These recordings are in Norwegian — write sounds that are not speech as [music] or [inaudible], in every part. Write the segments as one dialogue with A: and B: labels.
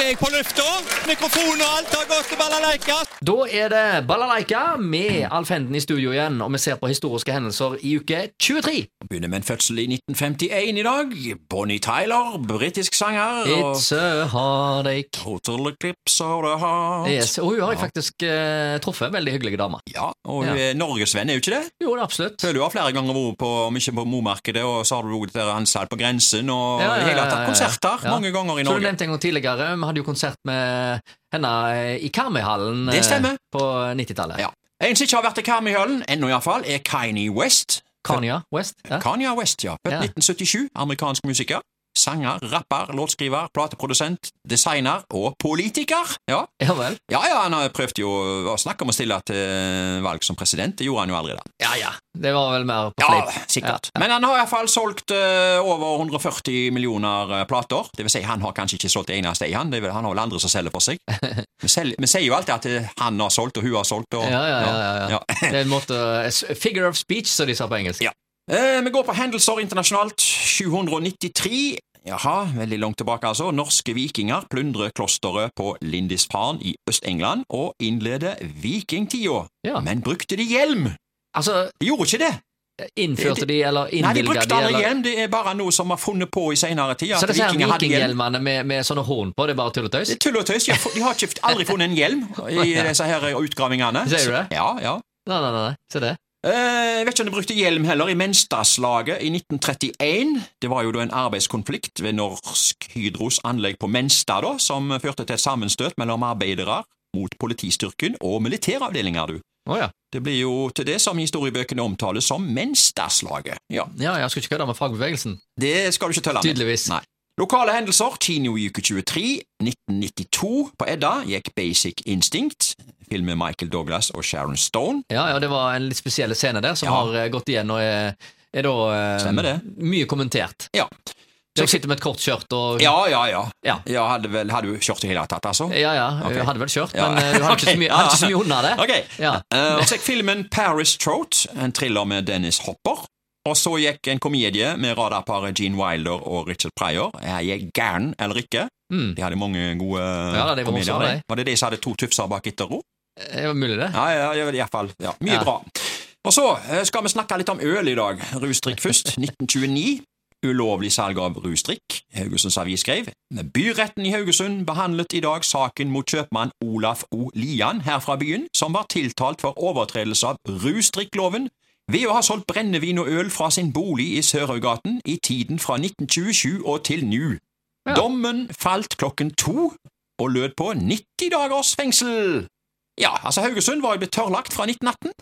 A: er jeg på lufta. Mikrofon og alt har gått til balalaika.
B: Da er det Balalaika med Alf Henden i studio igjen, og vi ser på historiske hendelser i uke 23.
C: Begynner med en fødsel i 1951 i dag. Bonnie Tyler, britisk sanger.
B: It's a heartache.
C: og Total Eclipse of the Heart.
B: Yes. Og hun har jeg faktisk eh, truffet. Veldig hyggelig dame.
C: Ja, og hun er norgesvenn, er hun ikke det?
B: Jo, det er absolutt.
C: Føler du har flere ganger vært på, om ikke på Momarkedet, og så har du vært der han satt på grensen, og
B: Ja, ja,
C: i hele tatt
B: ja, ja, ja.
C: konserter
B: Ja.
C: mange ganger i
B: Så du
C: Norge.
B: nevnte en gang tidligere, vi hadde jo konsert med henne eh, i Karmøyhallen
C: Det
B: eh,
C: stemmer.
B: på 90-tallet.
C: Ja. En som ikke har vært i Karmøyhallen, ennå iallfall, er Kanye West.
B: Kanya West. Ja.
C: Kanye West, ja. Født
B: Ja.
C: 1977, amerikansk musiker. Sanger, rapper, låtskriver, plateprodusent, designer og politiker. Ja.
B: ja vel.
C: Ja, ja, han har prøvd jo å snakke om å stille til valg som president. Det gjorde han jo aldri, da.
B: Ja, ja. Det var vel mer på
C: Ja,
B: fleip.
C: sikkert. Men han har iallfall solgt eh, over 140 millioner eh, plater. Det vil si, han har kanskje ikke solgt det eneste ei, han. Det er vel, han har vel andre som selger for
B: [laughs]
C: seg. Vi, selger, vi sier jo alltid at eh, han har solgt, og hun har solgt, og
B: Ja, ja, ja, ja, ja.
C: ja. [laughs]
B: Det er en måte s- Figure of speech, som de sa på engelsk.
C: Ja. Eh, vi går på hendelser internasjonalt. 793. Jaha, veldig langt tilbake, altså. Norske vikinger plyndrer klosteret på Lindisfarne i Øst-England og innleder vikingtida.
B: Ja.
C: Men brukte de hjelm?
B: Altså, eh,
C: De gjorde ikke det.
B: innførte
C: Det-
B: de, eller
C: Nei, de
B: innvilga
C: brukte
B: de,
C: aldri
B: eller
C: hjelm. Det er bare noe som var funnet på i senere tid.
B: Så
C: at
B: disse her
C: vikinger hadde hjelm.
B: vikinghjelmene med, med sånne horn på, det er bare tull og tøys?
C: Det er tull og tøys. De har fu- De har ikke, aldri funnet en hjelm
B: [laughs]
C: i disse her utgravingene.
B: Sier du det?
C: Ja, ja.
B: Nei, nei, nei, nei. se det.
C: Eh, Jeg vet ikke om de brukte hjelm heller. I Menstadslaget i 1931 Det var jo da en arbeidskonflikt ved Norsk Hydros anlegg på Menstad, da, som førte til et sammenstøt mellom arbeidere mot politistyrken og militæravdelinger, du.
B: Å ja.
C: Det blir jo til det som historiebøkene omtaler som Menstadslaget. Ja,
B: ja. Jeg skulle ikke kødde med fagbevegelsen.
C: det skal du ikke telle med.
B: Tydeligvis.
C: Nei. Lokale hendelser. Kino i uke 23, 1992. På Edda gikk Basic Instinct, film med Michael Douglas og Sharon Stone.
B: Ja, ja, det var en litt spesiell scene der som
C: Ja.
B: har eh, gått igjen og er, er da eh,
C: Stemmer det.
B: mye kommentert.
C: Ja.
B: Så jeg sitter med et kort skjørt og
C: Ja, ja, ja.
B: Ja.
C: ja hadde vel hadde du kjørt i hele tatt, altså?
B: ja, ja,
C: Ok.
B: jeg hadde vel skjørt,
C: Ja.
B: men eh, du hadde ikke så
C: Ok,
B: mye,
C: [laughs] ja.
B: hadde ikke så mye unna det.
C: Ok.
B: Ja.
C: Eh, og så gikk filmen Paris Trout, en thriller med Dennis Hopper. Og så gikk en komedie med radarparet Gene Wilder og Richard Pryor. Er jeg gæren eller ikke?
B: Mm.
C: De hadde mange gode
B: Ja, de
C: komedier.
B: var morsomme,
C: de.
B: de.
C: Var det de som hadde to tufser bak etter ro?
B: Det var mulig, det.
C: Ja, ja, ja, i hvert fall. Ja, mye
B: Ja.
C: bra. Og så eh, skal vi snakke litt om øl i dag. Rusdrikk
B: [laughs]
C: først. 1929. Ulovlig salg av rusdrikk. Haugesunds Avis skrev Byretten i Haugesund behandlet i dag saken mot kjøpmann Olaf O. Lian her fra byen, som var tiltalt for overtredelse av rusdrikkloven ved å ha solgt brennevin og øl fra sin bolig i Sørøygaten i tiden fra 1927 og til nå.
B: Ja.
C: Dommen falt klokken to og lød på 90 dagers fengsel. Ja, altså Haugesund var jo blitt tørrlagt fra 1918,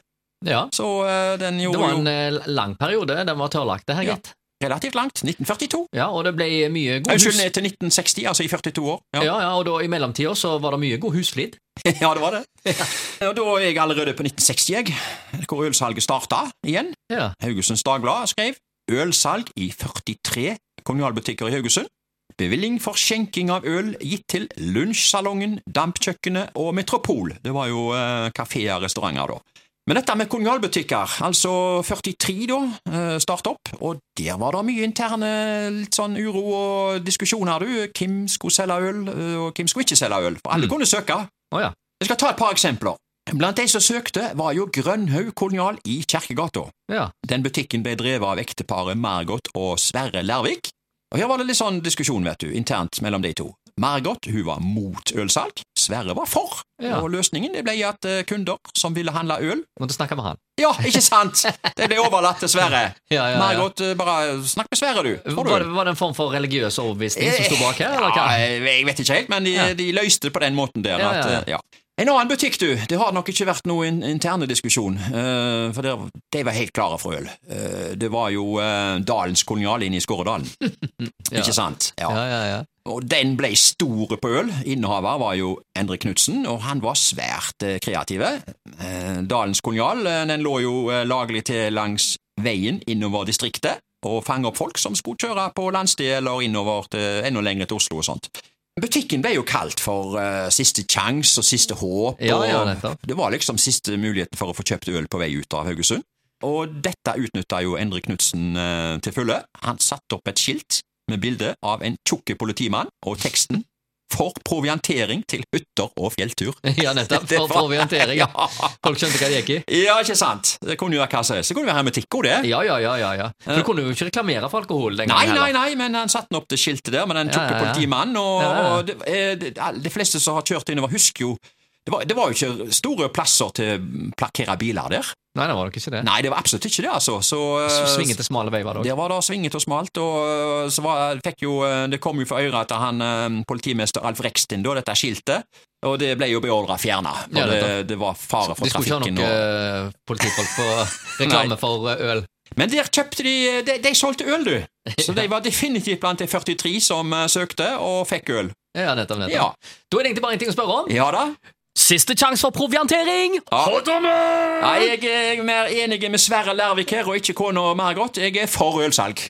B: Ja.
C: så eh, den
B: Det
C: gjorde
B: var
C: jo
B: en eh, lang periode den var tørrlagt, det her,
C: Ja.
B: gitt.
C: relativt langt. 1942.
B: Ja, og det ble mye god
C: Unnskyld,
B: hus...
C: ned til 1960, altså i 42 år. Ja,
B: Ja, ja, og da i mellomtida så var det mye god husflid.
C: [laughs] ja det var det. Og da er jeg allerede på 1960, jeg, hvor ølsalget starta igjen.
B: Ja.
C: Haugesunds Dagblad skrev ølsalg i 43 kommunalbutikker i Haugesund. Bevilling for skjenking av øl gitt til Lunsjsalongen, Dampkjøkkenet og Metropol. Det var jo eh, kafeer og restauranter, da. Men dette med kommunalbutikker, altså 43 da, eh, start opp, og der var det mye interne litt sånn uro og diskusjoner, du. Hvem skulle selge øl, eh, og hvem skulle ikke selge øl? For alle
B: Mm.
C: kunne søke.
B: Å ja.
C: Jeg skal ta et par eksempler. Blant de som søkte, var jo Grønhaug kolonial i Kjerkegata.
B: Ja.
C: Den butikken ble drevet av ekteparet Margot og Sverre Lervik. Og Her var det litt sånn diskusjon vet du, internt mellom de to. Margot hun var mot ølsalg, Sverre var for.
B: Ja.
C: Og løsningen det ble at eh, kunder som ville handle øl
B: Måtte snakke med han.
C: Ja, ikke sant! Det ble overlatt til Sverre.
B: Ja, ja, ja.
C: Margot, eh, bare snakk med Sverre, du. Får du
B: Var det,
C: øl?
B: var det en form for religiøs overbevisning som sto bak her, eller hva?
C: Ja, jeg jeg vet ikke helt, men de,
B: Ja.
C: de løste det på den måten der.
B: Ja,
C: at,
B: ja, ja.
C: eh, ja. En annen butikk, du. Det har nok ikke vært noen in interne diskusjon, eh, for der, de var helt klare for øl. Eh, det var jo eh, Dalens kolonial inne i
B: [laughs]
C: Skåredalen.
B: Ja.
C: Ikke sant? Ja.
B: Ja, ja, ja.
C: Og den ble store på øl. Innehaver var jo Endre Knutsen, og han var svært eh, kreative. Eh, Dalens kolonial eh, den lå jo eh, laglig til langs veien innover distriktet, og fange opp folk som skulle kjøre på landsted eller innover til, enda lenger til Oslo og sånt. Butikken ble jo kalt for eh, Siste Chance og Siste Håp.
B: Ja, ja,
C: og
B: nettopp. [laughs]
C: det var liksom siste muligheten for å få kjøpt øl på vei ut av Haugesund. Og dette utnytta jo Endre Knutsen eh, til fulle. Han satte opp et skilt med bilde av en tjukke politimann og teksten for proviantering til hytter og fjelltur.
B: Ja, nettopp.
C: Det
B: For,
C: var-
B: for orientering. Ja. Folk skjønte hva det gikk i.
C: [laughs] Ja, ikke sant? Det kunne jo være hva som helst. Det kunne jo være hermetikk òg, det.
B: Ja, ja, ja. ja, ja. For Du kunne jo ikke reklamere for alkohol den
C: Nei,
B: gangen.
C: nei,
B: heller.
C: nei, men han satte nå opp det skiltet der med den
B: Ja,
C: tjukke
B: ja, ja.
C: politimannen, og,
B: Ja, ja.
C: og det, eh, det, all- de fleste som har kjørt innover, husker jo det var, det var jo ikke store plasser til å plakkere biler der.
B: Nei, det var nok ikke det.
C: Nei, det var absolutt ikke det, altså. Så, eh,
B: Svingete, smale vei var det òg.
C: Der var det svinget og smalt, og så var, eh, fikk jo, det kom jo for øret etter han eh, politimester Alf Rekstin, da, dette skiltet, og det ble jo beordra fjerna.
B: Ja,
C: det,
B: nettopp.
C: det var fare for
B: De skulle ikke ha
C: trafikken.
B: nok
C: Og...
B: eh, politifolk
C: [laughs]
B: på reklame for eh, øl.
C: Men der kjøpte de eh, De, de solgte øl, du! Så de var definitivt blant de 43 som eh, søkte, og fikk øl.
B: [laughs] Ja, nettopp,
C: Ja,
B: nettopp. Da er det egentlig bare en ting å spørre om.
C: ja da.
B: Siste sjanse for proviantering!
C: Ja.
B: Hoddommer!
C: eh, Nei, jeg er mer enig med Sverre Lærvik her, og ikke kona Margot. Jeg er for ølsalg.